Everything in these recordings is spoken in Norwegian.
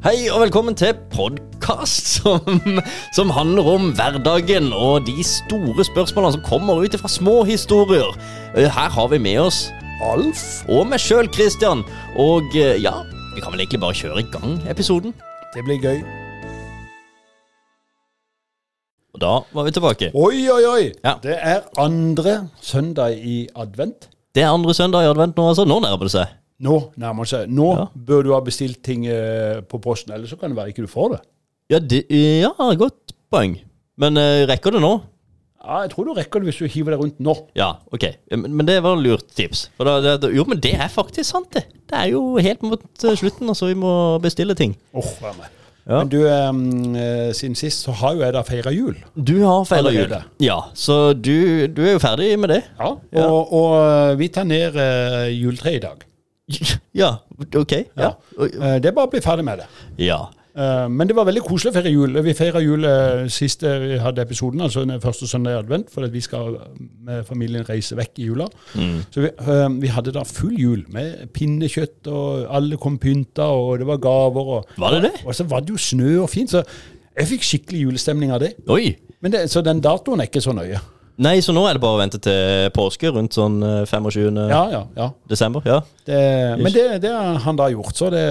Hei og velkommen til podkast som, som handler om hverdagen og de store spørsmålene som kommer ut fra små historier. Eh, Her har vi med oss Alf og meg sjøl, Christian. Og eh, ja, vi kan vel egentlig bare kjøre i gang episoden. Det blir gøy. Og da var vi tilbake. Oi, oi, oi! Ja. Det er andre søndag i advent. Det er andre søndag i advent nå, altså. Nå nærmer det seg. Nå nærmer det seg. Nå Ja. bør du ha bestilt ting eh, på posten, ellers så kan det være ikke du får det. Ja, det, eh, ja godt poeng. Men eh, rekker det nå? Ja, Jeg tror du rekker det hvis du hiver deg rundt nå. Ja, ok. Eh, Men, men det var lurt tips. For da, det, det- jo, men det er faktisk sant, det. Det er jo helt mot eh, slutten, altså. Vi må bestille ting. Åh, vær med. Ja. Men du, eh, eh, siden sist så har jo jeg da feira jul. Du har feira jul. Allerede. Ja, så du, du er jo ferdig med det. Ja. Og, og eh, vi tar ned eh, juletreet i dag. Ja, ok. Ja. Eh, det er bare å bli ferdig med det. ja. Eh, Men det var veldig koselig å feire jul. Vi feira jul eh, sist eh, vi hadde episoden, altså den første søndag i advent, for at vi skal med familien reise vekk i jula. Mm. Så vi, eh, vi hadde da full jul med pinnekjøtt, og alle kom pynta, og det var gaver. Og, Var det det? og så var det jo snø og fint, så jeg fikk skikkelig julestemning av det. Oi. Men det. Så den datoen er ikke så nøye. Nei, så nå er det bare å vente til påske, rundt sånn eh, 25. Ja, ja, ja. desember. Ja. Det, men det, det har han da gjort, så det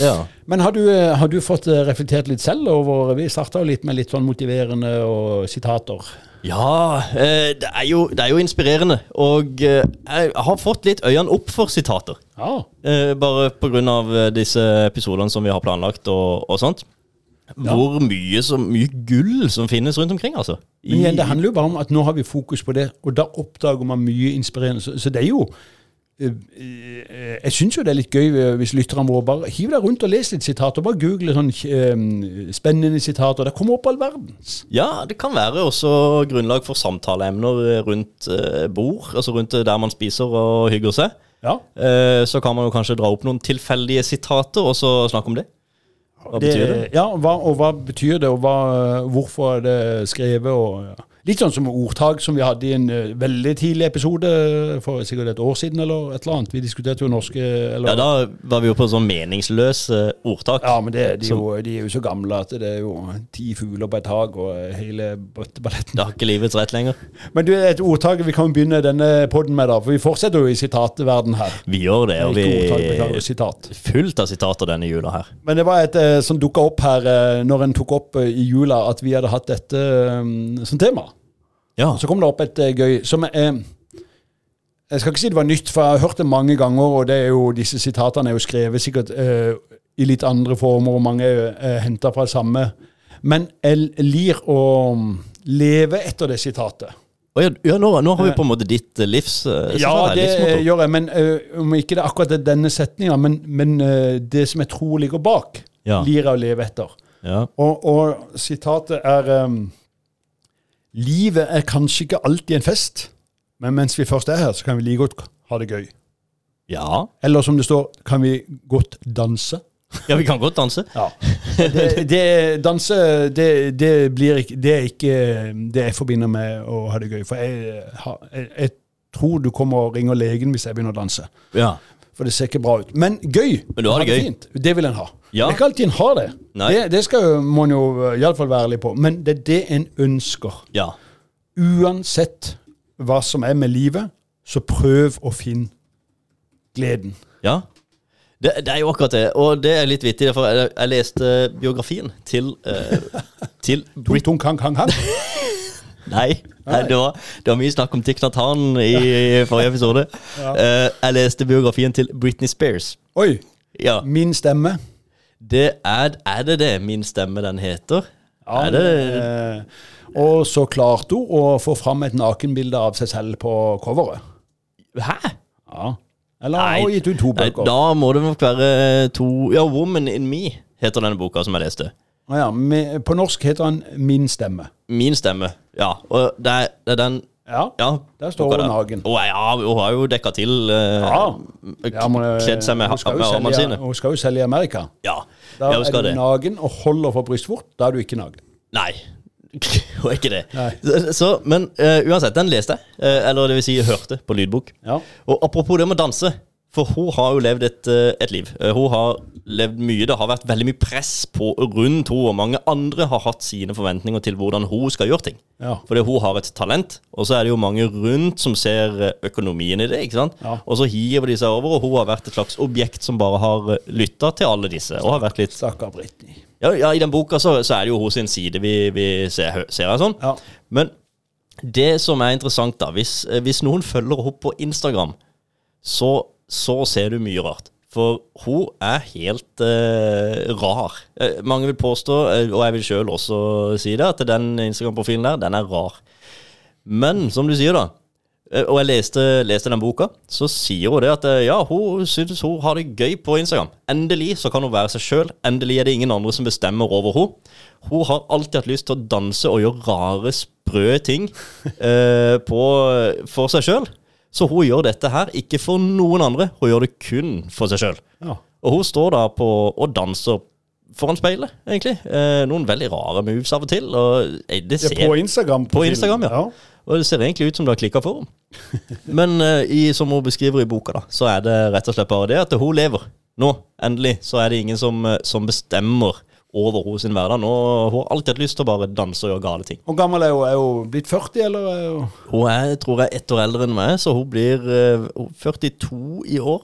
ja. Men har du, har du fått eh, reflektert litt selv over Vi starta jo litt med litt sånn motiverende og sitater. Ja, eh, det er jo, det er jo inspirerende. Og eh, jeg har fått litt øynene opp for sitater. Ja. Eh, bare pga. eh, disse episodene som vi har planlagt og, og sånt. Hvor mye, så mye gull som finnes rundt omkring, altså. Men igjen, det handler jo bare om at nå har vi fokus på det, og da oppdager man mye inspirerende. Så, så det er jo eh, eh, jeg syns jo det er litt gøy eh, hvis lytterne våre bare hiv deg rundt og les litt sitater. Bare google sånn eh, spennende sitater. Det kommer opp all verdens. Ja, det kan være også grunnlag for samtaleemner rundt eh, bord, altså rundt eh, der man spiser og hygger seg. Ja, Eh, så kan man jo kanskje dra opp noen tilfeldige sitater og så snakke om det. Hva betyr det? Ja, hva, og hva betyr det, og hva, hvorfor er det skrevet? Og, ja. Litt sånn som ordtak som vi hadde i en eh, veldig tidlig episode for sikkert et år siden, eller et eller annet. Vi diskuterte jo norske eller, Ja, da var vi jo på sånn meningsløse ordtak. Ja, men det, de, er jo, de er jo så gamle at det er jo ti fugler på et tak og eh, hele bøtteballetten. Det har ikke livets rett lenger. Men du, et ordtak vi kan begynne denne podden med, da. For vi fortsetter jo i sitatverden her. Vi gjør det, og Ikke ordtak, beklager, vi sitat. Fullt av sitater denne jula her. Men det var et eh, som dukka opp her eh, når en tok opp eh, i jula at vi hadde hatt dette eh, som tema. Ja. Så kom det opp et eh, gøy som eh, Jeg skal ikke si det var nytt, for jeg har hørt det mange ganger, og det er jo, disse sitatene er jo skrevet sikkert eh, i litt andre former, og mange er eh, henta fra samme. Men jeg lir å mm, leve etter det sitatet. Å ja, ja nå, nå har vi på en måte ditt eh, livs... eh, Ja, sitat her, det eh, livsmotto. gjør jeg, men eh, om ikke det er akkurat denne setninga, men, men eh, det som jeg tror ligger bak, Ja. lir jeg å leve etter. ja. Og, og sitatet er um, Livet er kanskje ikke alltid en fest, men mens vi først er her, så kan vi like godt ha det gøy. ja. Eller som det står, kan vi godt danse? Ja, vi kan godt danse. Ja. Det, det, danse, det, det blir ikke Det er ikke det jeg forbinder med å ha det gøy. For jeg, eh, har- jeg, jeg tror du kommer og ringer legen hvis jeg begynner å danse. Ja. For det ser ikke bra ut. Men gøy! Men du har det gøy. Fint. Det vil en ha. Ja. Det er ikke alltid en har det. Nei. Det, det skal jo- må en jo eh, iallfall være ærlig på. Men det er det en ønsker. Ja. Uansett hva som er med livet, så prøv å finne gleden. ja. Det, det er jo akkurat det, og det er litt vittig. For jeg, jeg leste biografien til, eh, til Brit... Tung, kang, kang, kang. Nei, nei det, var, det var mye snakk om Tikk Natan i, i forrige episode. Eh, jeg leste biografien til Britney Spears. Oi! Ja, Min stemme. det er, er det det min stemme den heter? Ja, er det eh, og så klarte hun å få fram et nakenbilde av seg selv på coveret. Hæ? Ja. Eller har hun gitt ut to nei, bøker? da må det nok være to Ja, 'Woman in Me' heter denne boka som jeg leste. Å ja, med, på norsk heter han Min stemme. Min stemme. Ja, og det er, det er den Ja. Ja. Der står boka hun der. naken. Å, ja, hun har jo dekka til. eh, Ja, men, eh, kledd seg med, hun skal jo med armene selge- sine. Hun skal jo selge i Amerika. Ja, Da ja, hun er skal du det. nagen og holder for brystvort. Da er du ikke nagen. Nei. Hun er ikke det. Nei. Så, men eh, uansett, den leste jeg. Eh, eller det vil si, jeg hørte på lydbok. Ja. Og apropos det med å danse. For hun har jo levd et, eh, et liv. Eh, Hun har levd mye. Det har vært veldig mye press på rundt henne, og mange andre har hatt sine forventninger til hvordan hun skal gjøre ting. Ja. Fordi hun har et talent, og så er det jo mange rundt som ser eh, økonomien i det. ikke sant? Ja. Og så hiver de seg over, og hun har vært et slags objekt som bare har lytta til alle disse. og har vært litt... Stakkar Britney. Ja, ja i den boka så, så er det jo hun sin side vi, vi ser, hø- ser her sånn. Ja. Men det som er interessant, da Hvis, eh, hvis noen følger henne på Instagram, så, så ser du mye rart. For hun er helt eh, rar. Eh, mange vil påstå, eh, og jeg vil sjøl også si det, at den Instagram-profilen der, den er rar. Men som du sier, da. eh, Og jeg leste, leste den boka, så sier hun det at eh, ja, hun synes hun har det gøy på Instagram. Endelig så kan hun være seg sjøl. Endelig er det ingen andre som bestemmer over henne. Hun har alltid hatt lyst til å danse og gjøre rare, sprø ting eh, på, for seg sjøl. Så hun gjør dette her ikke for noen andre, hun gjør det kun for seg sjøl. Ja. Og hun står da på og danser foran speilet, egentlig. Eh, noen veldig rare moves av og til. Og eh, det Det ser er på Instagram. på Instagram, ja. og det ser egentlig ut som det har klikka for henne. Men eh, i, som hun beskriver i boka, da, så er det rett og slett bare det at hun lever. Nå, endelig, så er det ingen som, eh, som bestemmer over henne sin hverdag. Nå, hun har alltid hatt lyst til å bare danse og gjøre gale ting. Hvor gammel er hun? Er hun blitt 40, eller? eh, Er hun Hun er, tror jeg, ett år eldre enn meg, så hun blir eh, 42 i år.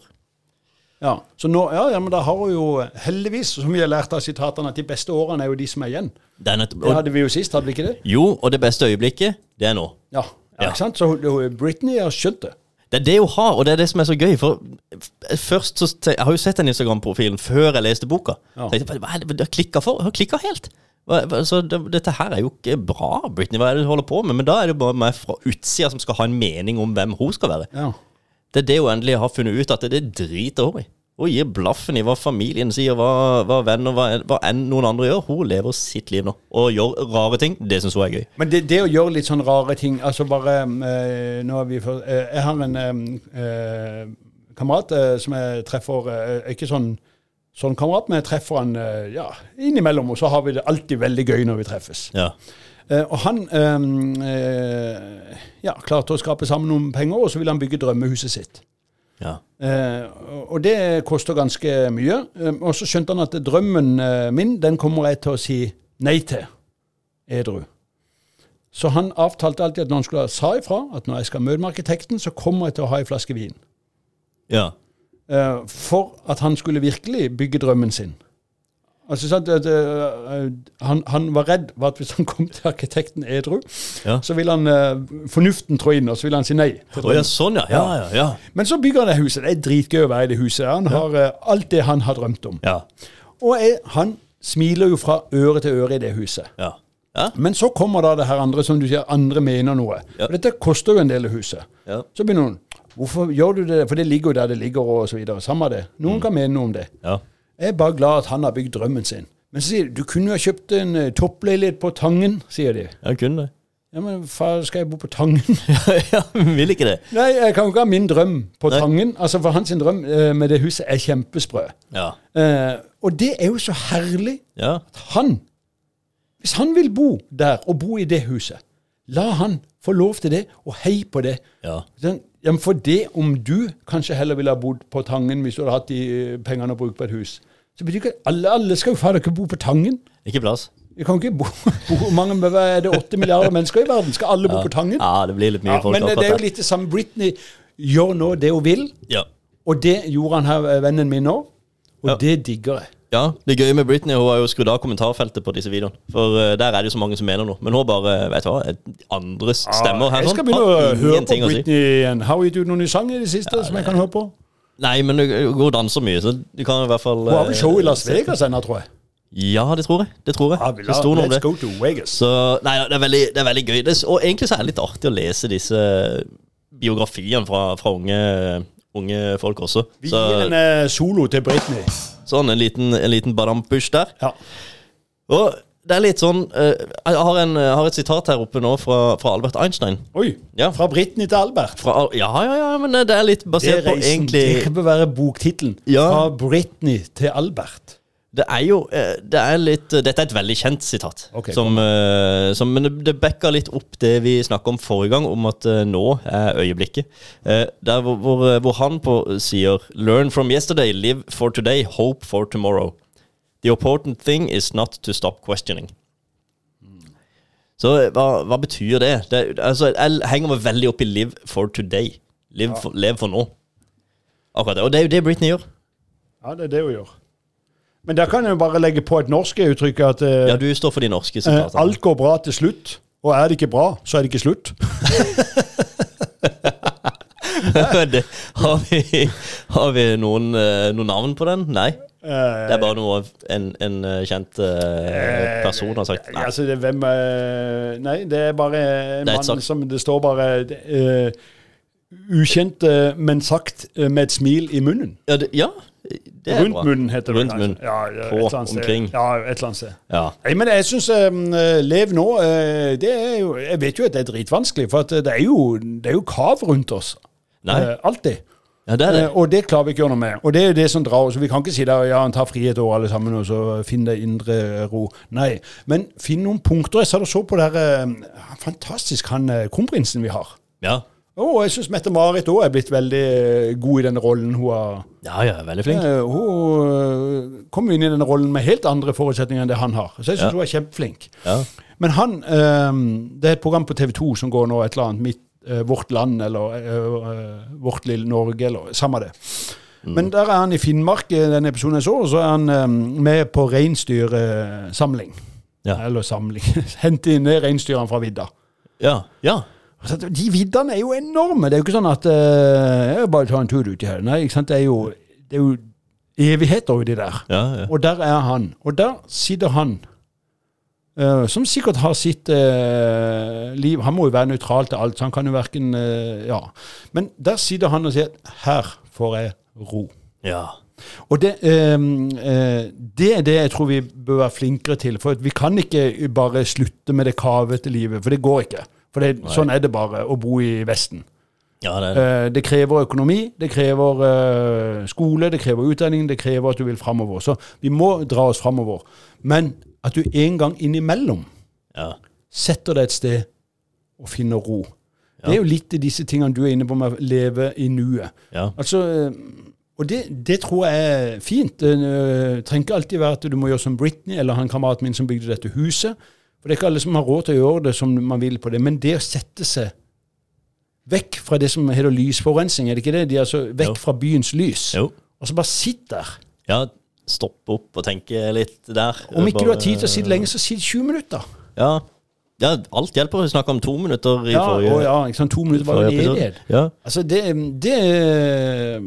Ja, så nå, ja, ja, men da har hun jo eh, heldigvis, som vi har lært av sitatene, at de beste årene er jo de som er igjen. Det er nettopp, Det og, hadde vi jo sist, hadde vi ikke det? jo, og det beste øyeblikket, det er nå. Ja, ja, Ja. ikke sant? Så hun- hun- Britney har skjønt det. Det er det hun har, og det er det som er så gøy. For f- først så, te- Jeg har jo sett den Instagram-profilen før jeg leste boka. Ja. Så jeg tenkte, hva er det, jeg klikket for, Hun klikka helt. Hva- hva- Så det, dette her er jo ikke bra, Britney. Hva er det du holder på med? Men da er det bare meg fra utsida som skal ha en mening om hvem hun skal være. Ja. Det er det hun endelig har funnet ut, at det, det driter hun i. Hun gir blaffen i hva familien sier, hva, hva venner, hva, hva enn noen andre gjør. Hun lever sitt liv nå, og gjør rare ting. Det syns hun er gøy. Men det, det å gjøre litt sånn rare ting Altså bare eh, Nå er vi for, eh, Jeg har en eh, eh, kamerat eh, som jeg treffer eh, Ikke sånn sånn kamerat, men jeg treffer han eh, ja, innimellom, og så har vi det alltid veldig gøy når vi treffes. Ja. Eh, og han eh, eh, ja, klarte å skrape sammen noen penger, og så ville han bygge drømmehuset sitt. ja. Eh, og det koster ganske mye. Eh, og så skjønte han at drømmen eh, min, den kommer jeg til å si nei til. Edru. Så han avtalte alltid at når han skulle sa ifra at når jeg skal møte med arkitekten, så kommer jeg til å ha ei flaske vin. ja. Eh, for at han skulle virkelig bygge drømmen sin. Altså, sant, at, eh, han, han var redd for at hvis han kom til arkitekten edru, Ja. så ville han eh, fornuften trå inn, og så ville han si nei. til Å ja, sånn, ja. Ja, ja, ja. men så bygger han det huset. Det er dritgøy å være i det huset. Han har eh, alt det han har drømt om. Ja. Og jeg, han smiler jo fra øre til øre i det huset. ja. ja. Men så kommer da det her andre, som du sier, andre mener noe. Ja. Og dette koster jo en del i huset. Ja. Så begynner noen Hvorfor gjør du det? For det ligger jo der det ligger, og så videre. Samme det. Noen Mm. kan mene noe om det. ja. Jeg er bare glad at han har bygd drømmen sin. Men så sier de du kunne jo ha kjøpt en eh, toppleilighet på Tangen, sier de. Ja, kunne det. Ja, men far, skal jeg bo på Tangen? ja, men vil ikke det. Nei, jeg kan jo ikke ha min drøm på Nei. Tangen. Altså, For hans drøm eh, med det huset er kjempesprø. Ja. Eh, og det er jo så herlig Ja. at han, hvis han vil bo der og bo i det huset, la han få lov til det, og hei på det. Ja. Den, jamen for det om du kanskje heller ville ha bodd på Tangen hvis du hadde hatt de eh, pengene å bruke på et hus, så betyr ikke at alle, alle skal jo fader ikke bo på Tangen. Ikke plass. Vi kan ikke bo, bo hvor mange, hva Er det åtte milliarder mennesker i verden? Skal alle bo på Tangen? Ja, det blir litt mye Ja, folk men eh, det akkurat er jo der. litt det samme. Britney gjør nå det hun vil, Ja. og det gjorde han her, eh, vennen min òg, og Ja. det digger jeg. ja. Det gøye med Britney, hun har jo skrudd av kommentarfeltet på disse videoene. For eh, der er det jo så mange som mener noe. Men hun bare eh, Vet du hva, et- andres stemmer her Jeg sånn skal begynne å har høre på ingenting å si. Britney igjen. Har hun gitt ut noen ny sang i det siste som jeg kan høre på? Nei, men hun hun går og danser mye, så du kan i hvert fall Hun har eh, vel show i Las Vegas ennå, tror jeg. Ja, det tror jeg. Det tror jeg. Det sto noe om det. go to Vegas. Så Nei, det er veldig, det er veldig gøy. Det, er- og egentlig så er det litt artig å lese disse eh, biografiene fra, fra unge, unge folk også. Vi Så, gir en eh, solo til Britney. Sånn, en liten, en liten badampush der. Ja. Og det er litt sånn eh, Jeg har, en, jeg har et sitat her oppe nå fra, fra Albert Einstein. Oi. Ja. Fra Britney til Albert. Fra, Al- ja, ja, ja, men det er litt Det basert er på reisen. egentlig Det bør være boktittelen. Ja. Fra Britney til Albert. Det er jo eh, det er litt, Dette er et veldig kjent sitat, Ok, som, eh, som, men det- det backer litt opp det vi snakket om forrige gang, om at eh, nå er øyeblikket. Eh, Der hvor, hvor, hvor han på sier 'Learn from yesterday, live for today, hope for tomorrow'. The important thing is not to stop questioning. Så eh, hva, hva betyr det? det er- altså, jeg henger meg veldig opp i 'live for today'. Liv for, lev for nå. Akkurat det. Og det er jo det Britney gjør. Ja, det er det hun gjør. Men der kan jeg jo bare legge på et norsk uttrykk at eh, Ja, du altså. står for de norske eh, sitatene. alt går bra til slutt. Og er det ikke bra, så er det ikke slutt. det, har, vi, har vi noen, eh, noen navn på den? Nei. Det Eh, er bare noe en, en eh, kjent eh, person har sagt. Nei. Altså, det er hvem eh, Nei, det er bare en Det er et mann sagt. som Det står bare eh, Ukjent, eh, men sagt eh, med et smil i munnen. Ja, det, ja, det er Rundt bra. munnen, heter det. Rundt kanskje. munnen. Ja, ja, På, et eller annet sted. omkring. Ja, et eller annet sted. Ja. Nei, men jeg syns Lev nå eh, det er jo, Jeg vet jo at det er dritvanskelig, for at eh, det er jo, det er jo kav rundt oss. Nei, Eh, alltid. ja, det er det. Eh, og det klarer vi ikke å gjøre noe med. Og det er jo det som drar oss. Vi kan ikke si der, ja, han tar frihet over alle sammen, og så finn deg indre ro. Nei. Men finn noen punkter. Jeg satt og så på der eh, Fantastisk, han eh, kronprinsen vi har. Ja. Og jeg syns Mette-Marit òg er blitt veldig eh, god i den rollen hun har. ja, ja, veldig flink. Eh, hun eh, kom jo inn i den rollen med helt andre forutsetninger enn det han har. Så jeg syns Ja. hun er kjempeflink. Ja. Men han eh, Det er et program på TV 2 som går nå, et eller annet mitt, eh, Vårt Land eller eh, eh, Vårt lille Norge, eller samme det. Men der er han i Finnmark, eh, den episoden jeg så, og så er han eh, med på reinsdyrsamling. Ja. Eller samling. Hente inn ned reinsdyrene fra vidda. ja. ja. Altså, De viddene er jo enorme! Det er jo ikke sånn at eh, jeg bare tar en tur uti her. Nei, ikke sant? Det er jo, det er jo evigheter uti der. Ja, ja. Og der er han. Og der sitter han, eh, som sikkert har sitt eh, liv Han må jo være nøytral til alt, så han kan jo verken eh, Ja. Men der sitter han og sier Her får jeg ro. ja. Og det, eh, eh, det er det jeg tror vi bør være flinkere til. For at vi kan ikke bare slutte med det kavete livet, for det går ikke. For det, sånn er det bare å bo i Vesten. ja det er det. Eh, Det krever økonomi, det krever eh, skole, det krever utdanning, det krever at du vil framover. Så vi må dra oss framover. Men at du en gang innimellom Ja. setter deg et sted og finner ro. Det er jo litt i disse tingene du er inne på med å leve i nuet. Ja. Altså, eh, og det, det tror jeg er fint. Det eh, trenger ikke alltid være at du må gjøre som Britney eller han kameraten min som bygde dette huset. For det er ikke alle som har råd til å gjøre det som man vil på det. Men det å sette seg vekk fra det som heter lysforurensning, er det ikke det? De er altså vekk Jo. fra byens lys. Jo. Og så bare sitt der. Ja, stopp opp og tenke litt der. Om ikke du har Bare- eh, tid til å sitte lenge, så sitt 20 minutter. Ja. ja, alt hjelper. Vi snakka om to minutter i Ja, forrige, å ja, ikke sant? To minutter var jo forrige en episode. evighet. Ja. Altså, det, det eh,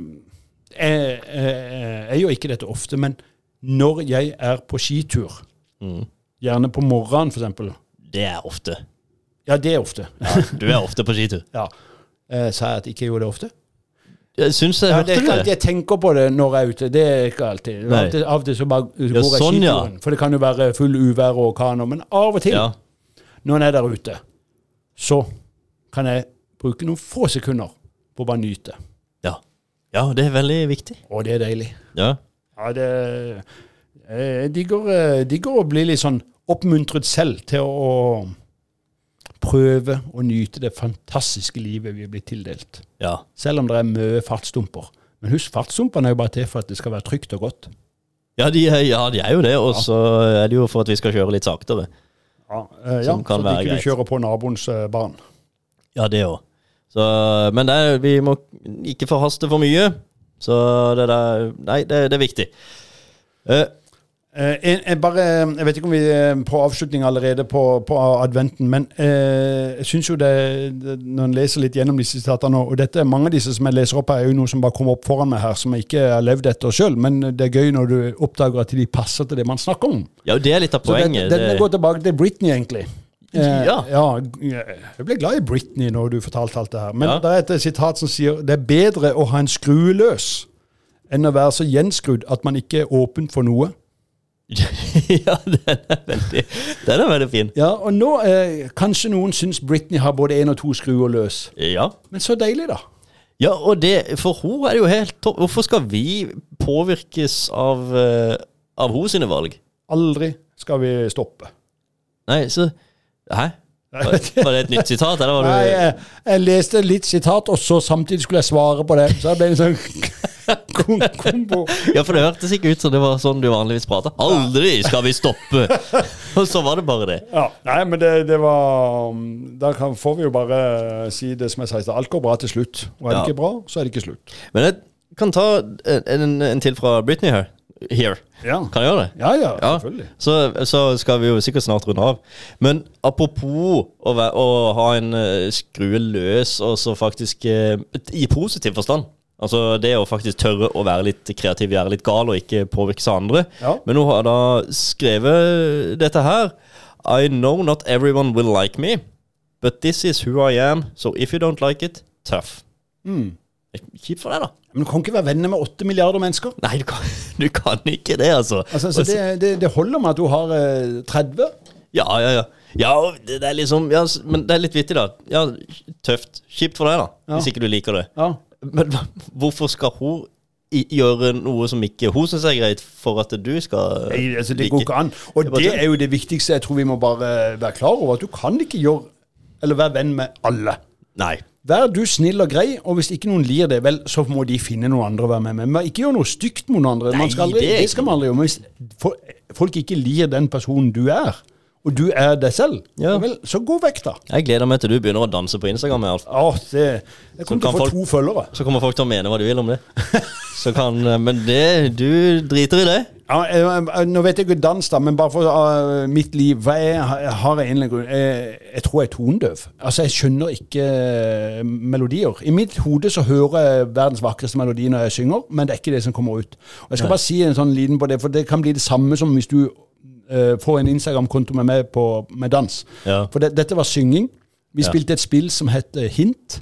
jeg, jeg, jeg gjør ikke dette ofte, men når jeg er på skitur, Mm. gjerne på morgenen f.eks. Det er ofte. Ja, det er ofte. Du er ofte på skitur. Ja. Eh, sa jeg at ikke jeg gjorde det ofte? Jeg syns jeg Ja, det hørte er ikke alltid jeg tenker på det når jeg er ute. Det er ikke alltid. Nei. Av og til- Av og til så bare går jeg sånn, ja. skituren. For det kan jo være full uvær og orkaner. Men av og til, Ja. når en er der ute, så kan jeg bruke noen få sekunder på å bare nyte. Ja. ja, det er veldig viktig. Og det er deilig. Ja. Ja, det eh, Jeg digger, eh, digger å bli litt sånn oppmuntret selv til å prøve å nyte det fantastiske livet vi er blitt tildelt. ja. Selv om det er mye fartsdumper. Men husk, fartsdumpene er jo bare til for at det skal være trygt og godt. Ja, de, er- ja, de er jo det, og så er det jo for at vi skal kjøre litt saktere. Ja, eh, ja, Som kan så at være ikke greit. du kjører på naboens eh, barn. Ja, det òg. Men det er, vi må ikke forhaste for mye. Så det der Nei, det, det er viktig. Eh, Eh, jeg, jeg, bare, jeg vet ikke om vi er på avslutning allerede på, på adventen, men eh, jeg syns jo det, det Når en leser litt gjennom disse sitatene, og dette er mange av disse som jeg leser opp her, er jo noe som bare kommer opp foran meg her, som jeg ikke har levd etter sjøl, men det er gøy når du oppdager at de passer til det man snakker om. ja, det er litt av Så det, poenget. denne går tilbake til Britney, egentlig. Eh, Ja. Jeg ble glad i Britney når du fortalte alt det her. Men Ja. det er et sitat som sier det er bedre å ha en skrue løs enn å være så gjenskrudd at man ikke er åpen for noe. ja, den er veldig Den er veldig fin. Ja, og nå eh, Kanskje noen syns Britney har både én og to skruer løs. Ja. Men så deilig, da. Ja, og det, for hun er det jo helt topp. Hvorfor skal vi påvirkes av eh, av hos sine valg. Aldri skal vi stoppe. Nei, så Hæ? Var var det et nytt sitat, eller var Nei, du jeg, jeg leste litt sitat, og så samtidig skulle jeg svare på det. Så det ble en sånn kom- kombo. Ja, for det hørtes ikke ut som det var sånn du vanligvis prater. Aldri skal vi stoppe! Og så var det bare det. Ja, nei, men det, det var um, Da kan, får vi jo bare eh, si det som jeg sa i stad. Alt går bra til slutt. Og er det Ja. ikke bra, så er det ikke slutt. Men jeg kan ta en, en, en til fra Britney her. Here. Ja, Kan jeg gjøre det? ja, ja, Ja, selvfølgelig. så, så skal vi jo sikkert snart runde av. Men apropos å, væ- å ha en eh, skrue løs, og så faktisk eh, I positiv forstand. Altså det å faktisk tørre å være litt kreativ, være litt gal og ikke påvirkes av andre. Ja. Men hun har da skrevet dette her. I know not everyone will like me, but this is who I am, so if you don't like it, tough. Hmm. Kjipt for deg, da. Men du kan ikke være venner med åtte milliarder mennesker. Nei, du kan, du kan ikke det, altså. Altså, så Og så- det, det, det holder med at du har eh, 30. Ja, ja, ja. Ja, og det, det er liksom ja, s- Men det er litt vittig, da. Ja, Tøft. Kjipt for deg, da. Hvis ikke du liker det. Ja. Men hva- hvorfor skal hun i- gjøre noe som ikke hun syns er greit, for at du skal Nei, altså, det går ikke an. Og bare det tull. er jo det viktigste jeg tror vi må bare være klar over. At du kan ikke gjøre Eller være venn med alle. Nei. Vær du snill og grei, og hvis ikke noen lir det, vel, så må de finne noen andre å være med. Men man- ikke gjør noe stygt mot noen andre. Nei, man skal aldri, det er det, skal man aldri gjøre. Men hvis fo- folk ikke lir den personen du er, og du er deg selv, Ja. vel, så gå vekk, da. Jeg gleder meg til du begynner å danse på Instagram med Alf. Å, det, jeg Så kommer til kan å få folk- to følgere. Så kommer folk til å mene hva de vil om det. Så kan eh, Men det Du driter i det. Ja, jeg, jeg, nå vet jeg ikke dans, da, men bare for ah, mitt liv hva er, har jeg, en eller annen grunn, jeg, jeg tror jeg er tonedøv. Altså, Jeg skjønner ikke eh, melodier. I mitt hode så hører jeg verdens vakreste melodi når jeg synger, men det er ikke det som kommer ut. Og Jeg skal bare si en sånn liten på det, for det kan bli det samme som hvis du eh, får en Instagram-konto med meg på, med dans. Ja. For det, dette var synging. Vi Ja. spilte et spill som het eh, Hint.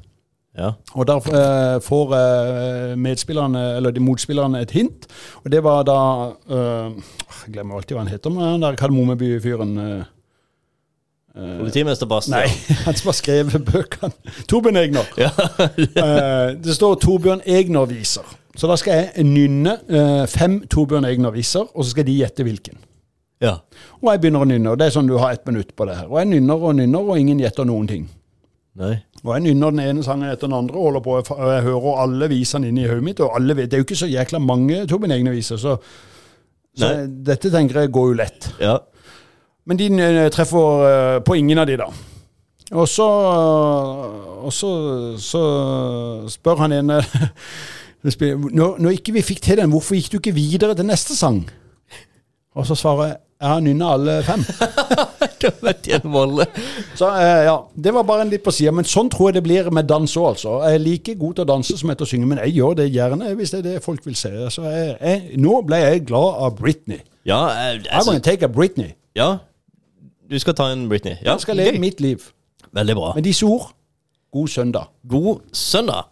Ja. Og der eh, får eh, medspillerne, eller de motspillerne et hint. Og det var da eh, Jeg glemmer alltid hva han heter, men han der Kardemommeby-fyren eh, Politimester Bastian. Nei, han som har skrevet bøkene. Torbjørn Egner. Ja. Eh, det står 'Torbjørn Egner-viser'. Så da skal jeg nynne eh, fem Torbjørn Egner-viser, og så skal de gjette hvilken. Ja. Og jeg begynner å nynne, og det er sånn du har ett minutt på det her. Og jeg nynner og nynner, og ingen gjetter noen ting. Nei. Og jeg nynner den ene sangen etter den andre, og holder på, jeg fa- og jeg hører alle visene inni hodet mitt. Og alle, vet- det er jo ikke så jækla mange Torbjørn egne viser, så, så Nei. jeg- dette tenker jeg går jo lett. Ja. Men de eh, treffer eh, på ingen av de, da. Og så, og så, så spør han ene når, når ikke vi fikk til den, hvorfor gikk du ikke videre til neste sang? Og så svarer jeg jeg har nynna alle fem. Da vet jeg en volle. Så eh, ja, Det var bare en litt på sida, men sånn tror jeg det blir med dans òg, altså. Jeg er like god til å danse som jeg er til å synge, men jeg gjør det gjerne hvis det er det folk vil se. Så jeg, jeg, nå ble jeg glad av Britney. Ja, jeg, I'm gonna take a Britney. ja. Du skal ta en Britney. Ja, Jeg skal leve gøy. mitt liv. Veldig bra. Med disse ord, god søndag. God søndag.